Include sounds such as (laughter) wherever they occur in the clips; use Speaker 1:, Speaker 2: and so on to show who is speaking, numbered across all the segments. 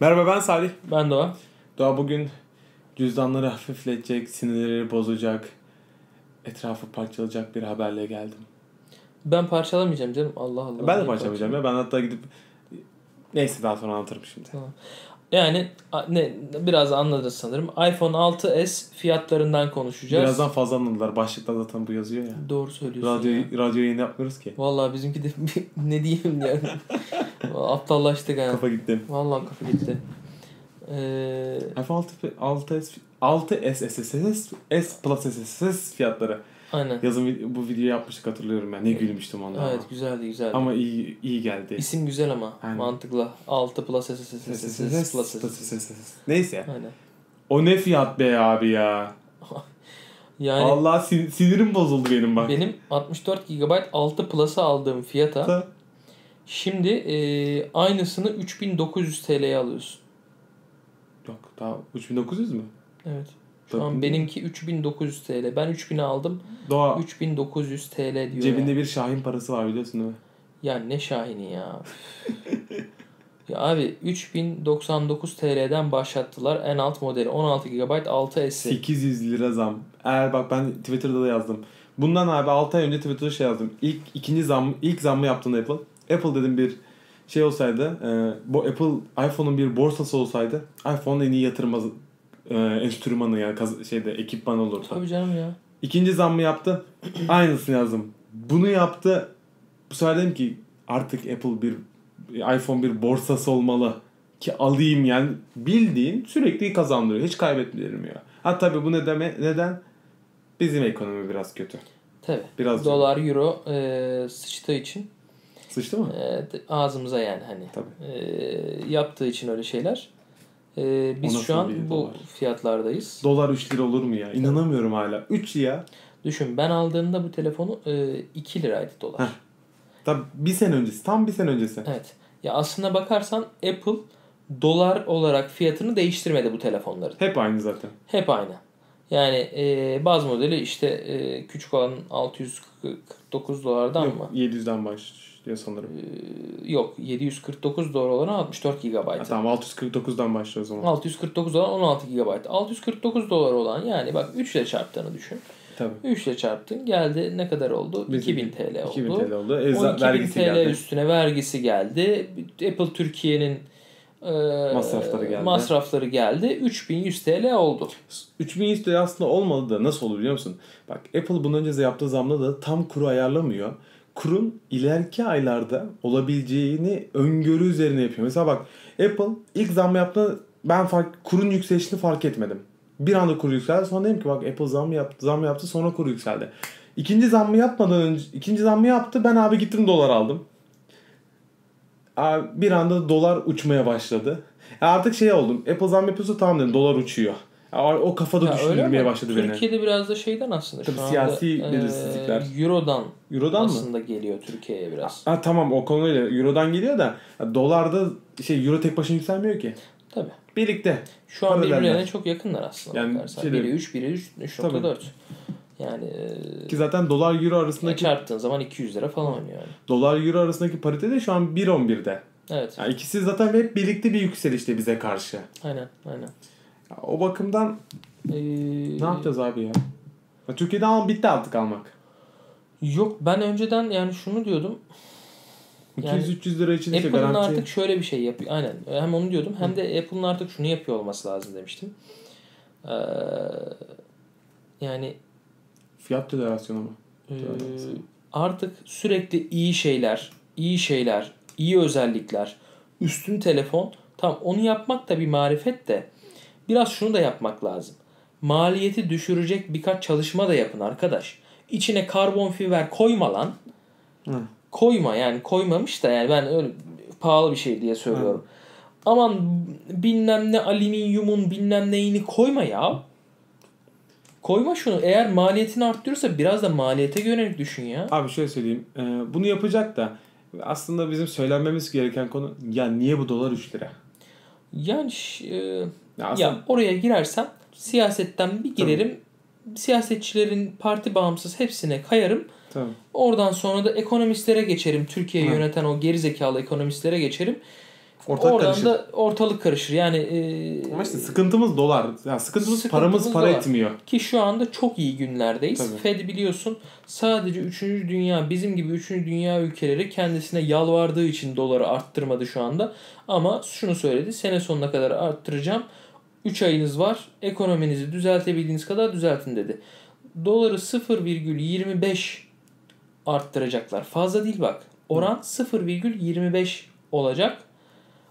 Speaker 1: Merhaba ben Salih.
Speaker 2: Ben Doğa.
Speaker 1: Daha bugün cüzdanları hafifletecek, sinirleri bozacak, etrafı parçalayacak bir haberle geldim.
Speaker 2: Ben parçalamayacağım canım. Allah Allah.
Speaker 1: ben de parçalayacağım ya. Ben hatta gidip neyse daha sonra anlatırım şimdi.
Speaker 2: Yani a- ne biraz anladınız sanırım. iPhone 6s fiyatlarından konuşacağız.
Speaker 1: Birazdan fazla anladılar. Başlıkta zaten bu yazıyor ya.
Speaker 2: Doğru söylüyorsun.
Speaker 1: Radyo
Speaker 2: Radyo...
Speaker 1: radyo yayını yapmıyoruz ki.
Speaker 2: Vallahi bizimki de ne diyeyim yani. Vallahi Aptallaştık yani.
Speaker 1: Kafa gitti.
Speaker 2: Vallahi kafa gitti. Ee,
Speaker 1: iPhone 6 6S 6S S S S S Plus S S S fiyatları.
Speaker 2: aynen.
Speaker 1: Yazın vi- bu videoyu yapmıştık hatırlıyorum ben. Ne gülmüştüm ona.
Speaker 2: Evet güzeldi güzeldi.
Speaker 1: Ama iyi iyi geldi.
Speaker 2: İsim güzel ama
Speaker 1: Aynen.
Speaker 2: mantıklı. 6 plus s s
Speaker 1: S S
Speaker 2: s
Speaker 1: S S
Speaker 2: s
Speaker 1: Plus
Speaker 2: plus
Speaker 1: S
Speaker 2: s
Speaker 1: S S S. Neyse.
Speaker 2: Aynen.
Speaker 1: O ne fiyat be abi ya.
Speaker 2: Yani
Speaker 1: Allah sin- sinirim bozuldu benim bak.
Speaker 2: benim 64 GB 6 plus'a aldığım fiyata
Speaker 1: Da-
Speaker 2: Şimdi e, aynısını 3900 TL'ye alıyorsun.
Speaker 1: Yok daha 3900 mü?
Speaker 2: Evet. Şu
Speaker 1: Tabii.
Speaker 2: an benimki 3900 TL. Ben 3000'e aldım.
Speaker 1: Doğa
Speaker 2: 3900 TL diyor.
Speaker 1: cebinde
Speaker 2: ya.
Speaker 1: bir şahin parası var biliyorsun değil mi?
Speaker 2: Ya ne şahini ya. (laughs) ya abi 3099 TL'den başlattılar en alt modeli 16 GB 6S'i.
Speaker 1: 800 lira zam. Eğer bak ben Twitter'da da yazdım. Bundan abi 6 ay önce Twitter'da şey yazdım. İlk ikinci zam ilk zammı yaptığında Apple. Apple dedim bir şey olsaydı, e, bu Apple iPhone'un bir borsası olsaydı iPhone'un en iyi yatırma e, enstrümanı ya kaz- şeyde ekipman olurdu.
Speaker 2: Tabii canım ya.
Speaker 1: İkinci zammı yaptı. Aynısını yazdım. Bunu yaptı. Bu sefer dedim ki artık Apple bir iPhone bir borsası olmalı ki alayım yani bildiğin sürekli kazandırıyor. Hiç kaybetmiyorum ya. Ha tabii bu ne deme, neden? Bizim ekonomi biraz kötü.
Speaker 2: Tabii.
Speaker 1: Biraz
Speaker 2: Dolar, euro e, sıçtığı için
Speaker 1: sıçtı mı?
Speaker 2: e, t- ağzımıza yani hani
Speaker 1: Tabii.
Speaker 2: e, yaptığı için öyle şeyler. E, biz
Speaker 1: Ona
Speaker 2: şu an
Speaker 1: söyleyeyim,
Speaker 2: bu
Speaker 1: dolar.
Speaker 2: fiyatlardayız.
Speaker 1: Dolar 3 lira olur mu ya? İnanamıyorum hala. 3 ya.
Speaker 2: Düşün ben aldığımda bu telefonu e, 2 liraydı dolar.
Speaker 1: Heh. Tabii bir sene öncesi. Tam bir sene öncesi.
Speaker 2: Evet. Ya aslına bakarsan Apple dolar olarak fiyatını değiştirmedi bu telefonların.
Speaker 1: Hep aynı zaten.
Speaker 2: Hep aynı. Yani e, bazı modeli işte e, küçük olan 649 dolardan mı?
Speaker 1: Yok, 700'den başlıyor sanırım.
Speaker 2: E, yok 749 dolar olan 64
Speaker 1: Ha,
Speaker 2: GB.
Speaker 1: tamam 649'dan başlıyor o zaman.
Speaker 2: 649 olan 16 GB. 649 dolar olan yani bak 3 ile çarptığını düşün.
Speaker 1: Tabii.
Speaker 2: 3 ile çarptın geldi ne kadar oldu?
Speaker 1: Bizim
Speaker 2: 2000 TL oldu.
Speaker 1: 2000 TL oldu.
Speaker 2: 12.000
Speaker 1: Eza, vergisi
Speaker 2: TL
Speaker 1: geldi.
Speaker 2: üstüne vergisi geldi. Apple Türkiye'nin e,
Speaker 1: Masrafları geldi.
Speaker 2: masrafları geldi. 3100 TL oldu.
Speaker 1: 3100 TL aslında olmadı da nasıl olur biliyor musun? Bak Apple bundan önce yaptığı zamda da tam kuru ayarlamıyor. Kurun ileriki aylarda olabileceğini öngörü üzerine yapıyor. Mesela bak Apple ilk zam yaptığı ben fark, kurun yükselişini fark etmedim. Bir anda kuru yükseldi. Sonra dedim ki bak Apple zam yaptı, zam yaptı sonra kuru yükseldi. İkinci zammı yapmadan önce ikinci zammı yaptı. Ben abi gittim dolar aldım. Abi bir anda dolar uçmaya başladı. E artık şey oldum. Apple zam yapıyorsa tamam dedim dolar uçuyor. E O kafada
Speaker 2: Ya öyle
Speaker 1: düşündürmeye
Speaker 2: mi?
Speaker 1: başladı beni.
Speaker 2: Türkiye'de biraz da şeyden aslında
Speaker 1: Tabii
Speaker 2: şu anda
Speaker 1: siyasi
Speaker 2: e,
Speaker 1: belirsizlikler.
Speaker 2: Euro'dan
Speaker 1: Euro'dan mı?
Speaker 2: aslında geliyor Türkiye'ye biraz.
Speaker 1: Ha, tamam o konuyla Euro'dan geliyor da ya dolarda şey Euro tek başına yükselmiyor ki.
Speaker 2: Tabii.
Speaker 1: Birlikte.
Speaker 2: Şu an
Speaker 1: Paraleller.
Speaker 2: birbirlerine çok yakınlar aslında.
Speaker 1: Yani
Speaker 2: bakarsan.
Speaker 1: şeyleri-
Speaker 2: Biri 3, biri 3, 3.4. Yani e,
Speaker 1: Ki zaten dolar euro arasındaki
Speaker 2: çarptığın zaman 200 lira falan oynuyor. Yani.
Speaker 1: dolar euro arasındaki parite de şu an 1.11'de.
Speaker 2: Evet.
Speaker 1: Yani ikisi zaten hep birlikte bir yükselişte bize karşı.
Speaker 2: Aynen. Aynen.
Speaker 1: Ya O bakımdan
Speaker 2: Ee,
Speaker 1: ne yapacağız abi ya? Ya Türkiye'de al bitti artık almak.
Speaker 2: Yok ben önceden yani şunu diyordum. Yani
Speaker 1: 200-300 lira için işte
Speaker 2: Apple'ın
Speaker 1: şey, garanti.
Speaker 2: artık şöyle bir şey yapıyor. Aynen. Hem onu diyordum hem de Apple'ın artık şunu yapıyor olması lazım demiştim. Ee, yani
Speaker 1: Fiyat tolerasyonu mu?
Speaker 2: e,
Speaker 1: Doğru.
Speaker 2: artık sürekli iyi şeyler, iyi şeyler, iyi özellikler, üstün telefon. Tam onu yapmak da bir marifet de biraz şunu da yapmak lazım. Maliyeti düşürecek birkaç çalışma da yapın arkadaş. İçine karbon fiber koyma lan.
Speaker 1: Hı.
Speaker 2: koyma yani koymamış da yani ben öyle pahalı bir şey diye söylüyorum. Aman bilmem ne alüminyumun bilmem neyini koyma ya. Koyma şunu. Eğer maliyetini arttırıyorsa biraz da maliyete yönelik düşün ya.
Speaker 1: Abi şöyle söyleyeyim. Ee, bunu yapacak da aslında bizim söylenmemiz gereken konu ya niye bu dolar 3 lira?
Speaker 2: Yani ş- e,
Speaker 1: Ya aslında
Speaker 2: ya oraya girersem siyasetten bir girerim. Siyasetçilerin parti bağımsız hepsine kayarım.
Speaker 1: Tamam.
Speaker 2: Oradan sonra da ekonomistlere geçerim. Türkiye'yi
Speaker 1: Hı.
Speaker 2: yöneten o gerizekalı ekonomistlere geçerim.
Speaker 3: Ortalık
Speaker 2: Oradan
Speaker 3: karışır.
Speaker 2: da ortalık karışır. Yani e,
Speaker 1: Ama işte sıkıntımız dolar. Yani sıkıntımız,
Speaker 2: Sıkıntımız
Speaker 1: paramız para
Speaker 2: dolar.
Speaker 1: etmiyor.
Speaker 2: ki şu anda çok iyi günlerdeyiz.
Speaker 1: Tabii.
Speaker 2: Fed biliyorsun sadece 3. dünya bizim gibi 3. dünya ülkeleri kendisine yalvardığı için doları arttırmadı şu anda. Ama şunu söyledi sene sonuna kadar arttıracağım. 3 ayınız var ekonominizi düzeltebildiğiniz kadar düzeltin dedi. Doları 0,25 arttıracaklar. Fazla değil bak. Oran 0,25 olacak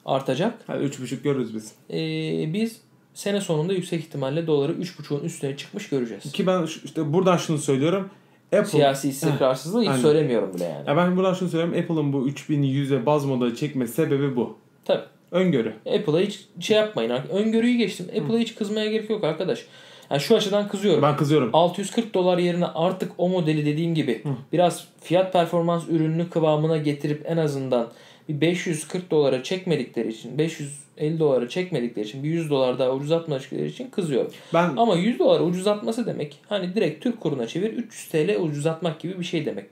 Speaker 2: artacak.
Speaker 1: Hadi üç buçuk görürüz biz.
Speaker 2: Ee, biz sene sonunda yüksek ihtimalle doları 3.5'un üstüne çıkmış göreceğiz.
Speaker 1: Ki ben şu- işte buradan şunu söylüyorum. Apple
Speaker 2: Siyasi istikrarsızlığı hiç
Speaker 1: Aynen.
Speaker 2: söylemiyorum bile yani.
Speaker 1: Ya ben buradan şunu söylüyorum. Apple'ın bu 3100'e baz modayı çekme sebebi bu.
Speaker 2: Tabii.
Speaker 1: Öngörü.
Speaker 2: Apple'a hiç şey yapmayın. Öngörüyü geçtim. Apple'a hiç kızmaya gerek yok arkadaş. Yani şu açıdan kızıyorum.
Speaker 1: Ben kızıyorum.
Speaker 2: 640 dolar yerine artık o modeli dediğim gibi biraz fiyat performans ürününü kıvamına getirip en azından bir 540 dolara çekmedikleri için 550 dolara çekmedikleri için bir 100 dolar daha ucuzatmadıkları için kızıyorum.
Speaker 1: Ben
Speaker 2: Ama 100 dolar ucuzatması demek hani direkt Türk kuruna çevir 300 TL ucuzatmak gibi bir şey demek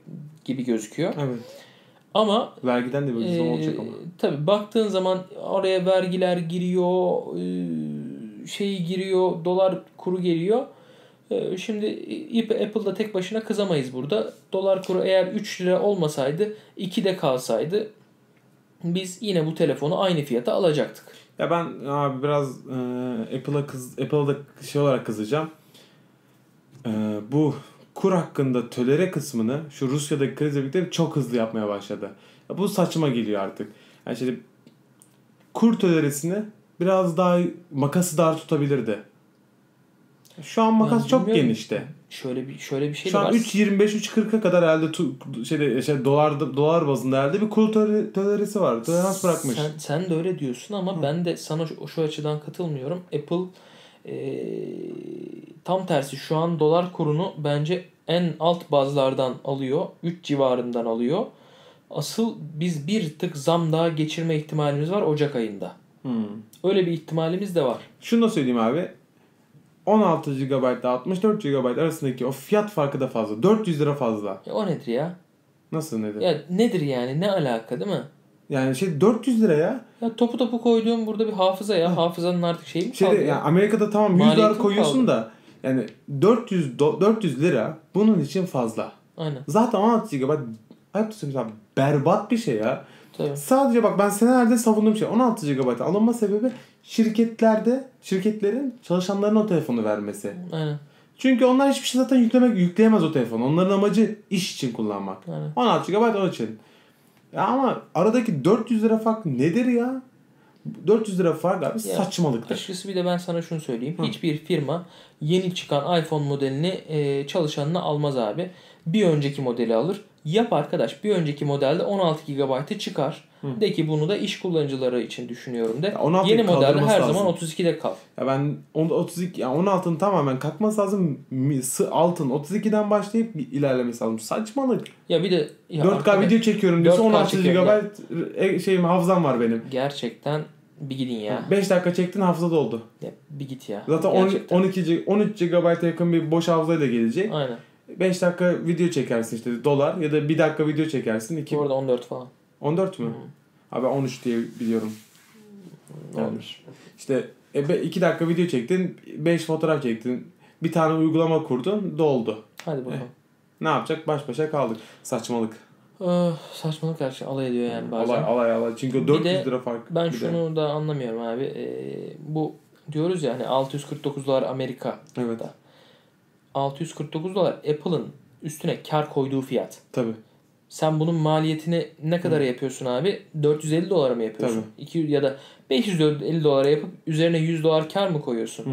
Speaker 2: gibi gözüküyor.
Speaker 1: evet.
Speaker 2: Ama
Speaker 1: Vergiden de böyle
Speaker 2: e,
Speaker 1: zam olacak ama.
Speaker 2: tabii baktığın zaman oraya vergiler giriyor, e, şey giriyor, dolar kuru geliyor. E, şimdi İp- Apple'da tek başına kızamayız burada. Dolar kuru eğer 3 lira olmasaydı 2 de kalsaydı biz yine bu telefonu aynı fiyata alacaktık.
Speaker 1: Ya ben abi biraz e, Apple'a kız Apple'a da şey olarak kızacağım. E, bu kur hakkında tölere kısmını şu Rusya'daki krizle birlikte çok hızlı yapmaya başladı. Ya bu saçma geliyor artık. Yani şimdi kur töleresini biraz daha makası dar tutabilirdi. Şu an makas
Speaker 2: Ben
Speaker 1: çok
Speaker 2: bilmiyorum.
Speaker 1: genişte.
Speaker 2: Şöyle bir şöyle bir şey
Speaker 1: Şu
Speaker 2: de
Speaker 1: an
Speaker 2: var.
Speaker 1: 3.25-3.40'a kadar elde tu- şeyde, şey, dolar, dolar bazında elde bir kur töre- töleresi var. Tolerans bırakmış.
Speaker 2: Sen, sen de öyle diyorsun ama ben de sana şu, şu açıdan katılmıyorum. Apple eee, tam tersi şu an dolar kurunu bence en alt bazlardan alıyor. 3 civarından alıyor. Asıl biz bir tık zam daha geçirme ihtimalimiz var Ocak ayında.
Speaker 1: Hmm.
Speaker 2: Öyle bir ihtimalimiz de var.
Speaker 1: Şunu da söyleyeyim abi. 16 GB ile 64 GB arasındaki o fiyat farkı da fazla. 400 lira fazla.
Speaker 2: Ya E, o nedir ya?
Speaker 1: Nasıl nedir?
Speaker 2: Ya nedir yani? Ne alaka değil mi?
Speaker 1: Yani şey 400 lira ya.
Speaker 2: Ya topu topu koyduğum burada bir hafıza ya. Hafızanın artık şeyi mi
Speaker 1: Şeyde,
Speaker 2: kaldı?
Speaker 1: Şey yani Amerika'da tamam 100 dolar
Speaker 2: Maliyeti mi
Speaker 1: koyuyorsun da yani 400 do- 400 lira bunun için fazla.
Speaker 2: Aynen.
Speaker 1: Zaten 16 GB ayıp da söyleyeyim sana, berbat bir şey ya.
Speaker 2: Tabii.
Speaker 1: Sadece bak ben senelerde savunduğum şey 16 GB alınma sebebi şirketlerde şirketlerin çalışanlarına o telefonu vermesi.
Speaker 2: Aynen.
Speaker 1: Çünkü onlar hiçbir şey zaten yüklemek yükleyemez o telefonu. Onların amacı iş için kullanmak.
Speaker 2: Aynen.
Speaker 1: 16 GB onun için. Ya ama aradaki 400 lira fark nedir ya? 400 lira fark abi
Speaker 2: Ya,
Speaker 1: saçmalıktır.
Speaker 2: Açıkçası bir de ben sana şunu söyleyeyim. Hiçbir firma yeni çıkan iPhone modelini e, çalışanına almaz abi. Bir önceki modeli alır. Yap arkadaş bir önceki modelde 16 GB'ı çıkar. De ki bunu da iş kullanıcıları için düşünüyorum de.
Speaker 1: Ya 16
Speaker 2: yeni modelde
Speaker 1: kaldırması
Speaker 2: her
Speaker 1: lazım.
Speaker 2: zaman 32'de kal.
Speaker 1: Ya ben on- 32 ya 16'ın tamamen kalkması lazım. Mi- sı- Altın 32'den başlayıp bir ilerlemesi lazım. Saçmalık.
Speaker 2: Ya bir de ya
Speaker 1: 4K
Speaker 2: arkadaş,
Speaker 1: video çekiyorum diyorsun
Speaker 2: 4K
Speaker 1: 16
Speaker 2: çekiyorum
Speaker 1: GB e, şeyim hafızam var benim.
Speaker 2: gerçekten bir gidin ya.
Speaker 1: 5 dakika çektin hafıza doldu.
Speaker 2: Ya bir git ya.
Speaker 1: Zaten on-
Speaker 2: Gerçekten.
Speaker 1: 12 G- 13 GB'a yakın bir boş hafızayla gelecek.
Speaker 2: Aynen.
Speaker 1: 5 dakika video çekersin işte dolar ya da 1 dakika video çekersin.
Speaker 2: Ki
Speaker 1: 2,
Speaker 2: bu arada 14 falan.
Speaker 1: 14 mü? Abi 13 diye biliyorum.
Speaker 2: Ne
Speaker 1: Yani.
Speaker 2: olur.
Speaker 1: İşte 2 dakika video çektin, 5 fotoğraf çektin, bir tane uygulama kurdun, doldu.
Speaker 2: Hadi bakalım.
Speaker 1: Ne yapacak? Baş başa kaldık. Saçmalık.
Speaker 2: Ah, saçmalık her şey alay ediyor yani bazen.
Speaker 1: Alay alay alay. Çünkü
Speaker 2: Bir
Speaker 1: 400
Speaker 2: de
Speaker 1: lira fark.
Speaker 2: Ben
Speaker 1: bir de.
Speaker 2: şunu da anlamıyorum abi. Ee, bu diyoruz ya hani 649 dolar Amerika.
Speaker 1: Evet.
Speaker 2: 649 dolar Apple'ın üstüne kar koyduğu fiyat.
Speaker 1: Tabii.
Speaker 2: Sen bunun maliyetini ne kadar yapıyorsun abi? 450 dolara mı yapıyorsun? 200 ya da 550 dolara yapıp üzerine 100 dolar kar mı koyuyorsun?
Speaker 1: Hı.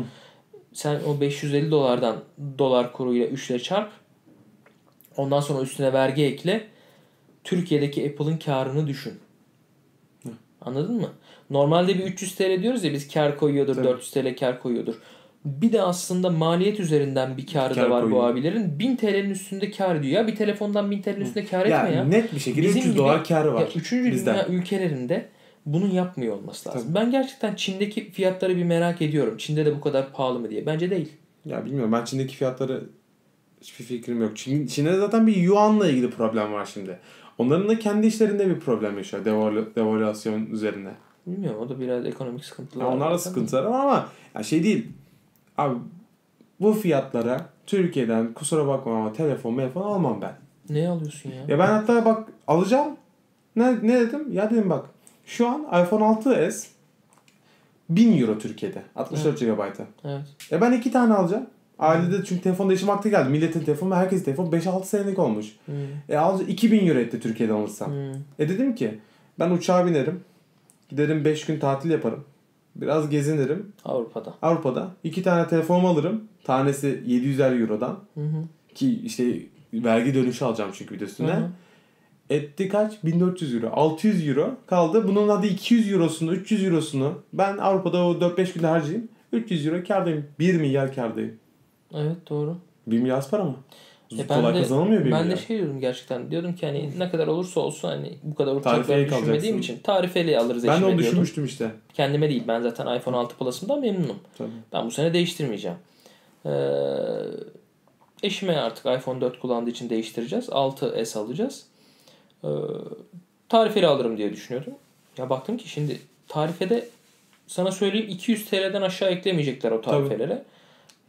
Speaker 2: Sen o 550 dolardan dolar kuruyla 3 ile çarp. Ondan sonra üstüne vergi ekle. Türkiye'deki Apple'ın karını düşün. Anladın mı? Normalde bir 300 TL diyoruz ya biz kar koyuyordur,
Speaker 1: Tabii.
Speaker 2: 400 TL kar koyuyordur. Bir de aslında maliyet üzerinden bir karı
Speaker 1: Kar
Speaker 2: da var bu
Speaker 1: koyuyor.
Speaker 2: abilerin. 1000 TL'nin üstünde kar diyor ya. Bir telefondan 1000 TL'nin üstünde kar etme ya.
Speaker 1: Yani net bir şekilde
Speaker 2: Bizim
Speaker 1: 300
Speaker 2: gibi-
Speaker 1: dolar karı var.
Speaker 2: Ya üçüncü
Speaker 1: bizden.
Speaker 2: dünya ülkelerinde bunu yapmıyor olması lazım. Ben gerçekten Çin'deki fiyatları bir merak ediyorum. Çin'de de bu kadar pahalı mı diye. Bence değil.
Speaker 1: Ya bilmiyorum ben Çin'deki fiyatları hiçbir fikrim yok. Çin, Çin'de zaten bir yuanla ilgili problem var şimdi. Onların da kendi işlerinde bir problem yaşıyor. Devalü, devalüasyon üzerine.
Speaker 2: Bilmiyorum o da biraz ekonomik sıkıntılar.
Speaker 1: Ya onlar
Speaker 2: var.
Speaker 1: da sıkıntılar var ama ya şey değil. Abi bu fiyatlara Türkiye'den kusura bakma ama telefon telefon almam ben.
Speaker 2: Ne alıyorsun ya?
Speaker 1: Ya ben hatta bak alacağım. Ne, ne dedim? Ya dedim bak şu an iPhone 6s 1000 euro Türkiye'de. 64 GB'ı.
Speaker 2: Evet.
Speaker 1: E ben iki tane alacağım. Ailede çünkü telefon değişim vakti geldi. Milletin telefonu, herkesin telefonu 5-6 senelik olmuş.
Speaker 2: Hmm.
Speaker 1: E alca 2000 euro etti Türkiye'den alırsam.
Speaker 2: Hmm.
Speaker 1: E dedim ki ben uçağa binerim. Giderim 5 gün tatil yaparım. Biraz gezinirim.
Speaker 2: Avrupa'da.
Speaker 1: Avrupa'da iki tane telefonumu alırım. Tanesi 700'er Euro'dan.
Speaker 2: Hı hı.
Speaker 1: Ki işte vergi dönüşü alacağım çünkü bir de üstüne.
Speaker 2: Hı hı.
Speaker 1: Etti kaç? 1400 euro. 600 euro kaldı. Bunun hadi 200 eurosunu, 300 eurosunu ben Avrupa'da o 4-5 günde harcayayım. 300 euro kârdayım. 1 milyar kârdayım.
Speaker 2: Evet doğru.
Speaker 1: 1 milyar az para mı?
Speaker 2: E ben
Speaker 1: Kolay
Speaker 2: de-
Speaker 1: kazanılmıyor 1
Speaker 2: Ben de
Speaker 1: milyar.
Speaker 2: şey diyordum gerçten. Diyordum ki hani ne kadar olursa olsun hani bu kadar
Speaker 1: Tarifeli
Speaker 2: ortakları düşünmediğim
Speaker 1: kalacaksın.
Speaker 2: için tarifeli alırız
Speaker 1: ben de
Speaker 2: eşime
Speaker 1: onu
Speaker 2: diyordum.
Speaker 1: düşünmüştüm işte.
Speaker 2: Kendime değil ben zaten iPhone 6 Plus'ımdan memnunum.
Speaker 1: Tabii.
Speaker 2: Ben bu sene değiştirmeyeceğim. Ee, eşime artık iPhone 4 kullandığı için değiştireceğiz. 6S alacağız. Ee, tarifeli alırım diye düşünüyordum. Ya baktım ki şimdi tarifede sana söyleyeyim 200 TL'den aşağı eklemeyecekler o tarifelere.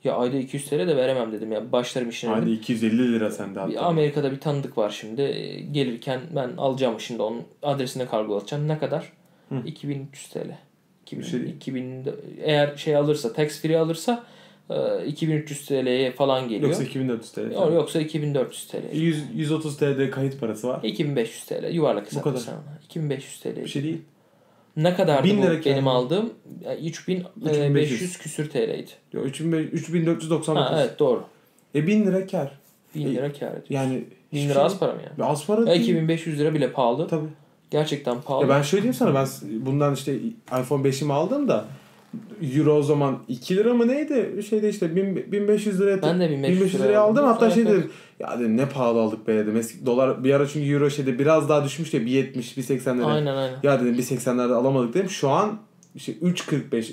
Speaker 2: Ya ayda 200 TL de veremem dedim ya. Başlarım işine dedim.
Speaker 1: Hadi 250 lira sende
Speaker 2: Bir
Speaker 1: hatta.
Speaker 2: Amerika'da bir tanıdık var şimdi. Ee, Gelirken ben alacağım şimdi onun adresine kargolatacağım. Ne kadar?
Speaker 1: Hı.
Speaker 2: 2300 TL. 2000,
Speaker 1: Bir şey değil.
Speaker 2: 2000 de- eğer şey alırsa, tax free alırsa e, 2300 TL'ye falan geliyor.
Speaker 1: Yoksa
Speaker 2: Yoksa,
Speaker 1: 2400 TL.
Speaker 2: yoksa 2400 TL.
Speaker 1: 100, 130 TL'de kayıt parası var.
Speaker 2: 2500 TL yuvarlak hesap.
Speaker 1: kadar.
Speaker 2: sen ona. 2500 TL.
Speaker 1: Bir şey değil.
Speaker 2: Ne kadardı
Speaker 1: Bin
Speaker 2: bu
Speaker 1: lira
Speaker 2: benim
Speaker 1: kendi.
Speaker 2: aldığım? Yani 3500
Speaker 1: 3500
Speaker 2: e, küsür TL'ydi.
Speaker 1: Ya 3500 3499.
Speaker 2: Ha, evet doğru.
Speaker 1: E 1000 lira kar.
Speaker 2: 1000
Speaker 1: İyi. şey-
Speaker 2: lira kar ediyor.
Speaker 1: Yani
Speaker 2: 1000 lira az para mı yani?
Speaker 1: az para
Speaker 2: Ya
Speaker 1: değil.
Speaker 2: 2500 lira bile pahalı.
Speaker 1: Tabii.
Speaker 2: Gerçekten pahalı.
Speaker 1: Ya ben şöyle diyeyim sana ben bundan işte iPhone 5'imi aldım da Euro o zaman 2 lira mı neydi? Şeyde işte 1000 1500 liraya
Speaker 2: Ben de 1500
Speaker 1: 1500
Speaker 2: liraya
Speaker 1: liraya aldım.
Speaker 2: aldım.
Speaker 1: Hatta şey
Speaker 2: Evet,
Speaker 1: dedim. Ya dedim ne pahalı aldık be dedim. Eski dolar bir ara çünkü euro şeyde biraz daha düşmüştü ya 1.70 1.80'lere.
Speaker 2: Aynen aynen.
Speaker 1: Ya dedim 1.80'lerde alamadık dedim. Şu an işte 3.45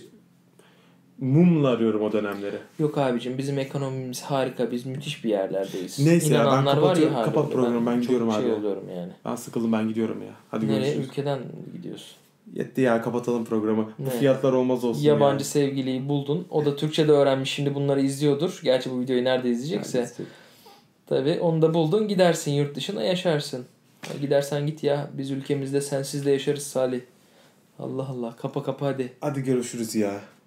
Speaker 1: mumla arıyorum o dönemleri.
Speaker 2: Yok abicim bizim ekonomimiz harika. Biz müthiş bir yerlerdeyiz.
Speaker 1: Neyse ya, ben
Speaker 2: İnananlar var
Speaker 1: kapatıyorum.
Speaker 2: hali
Speaker 1: Kapat
Speaker 2: oldu.
Speaker 1: programı, ben
Speaker 2: çok
Speaker 1: gidiyorum
Speaker 2: şey
Speaker 1: abi.
Speaker 2: oluyorum yani.
Speaker 1: Ben sıkıldım ben gidiyorum ya. Hadi
Speaker 2: Nereye?
Speaker 1: görüşürüz.
Speaker 2: Ülkeden gidiyorsun.
Speaker 1: Yetti ya kapatalım programı. Bu
Speaker 2: Ne?
Speaker 1: fiyatlar olmaz olsun.
Speaker 2: Yabancı sevgiliyi buldun. O da Türkçe de öğrenmiş. Şimdi bunları izliyordur. Gerçi bu videoyu nerede
Speaker 1: yani.
Speaker 2: izleyecekse. Tabii onu da buldun. Gidersin yurt dışına yaşarsın. Ya Gidersen git ya. Biz ülkemizde sensiz de yaşarız Salih. Allah Allah. Kapa kapa hadi.
Speaker 1: Hadi görüşürüz ya.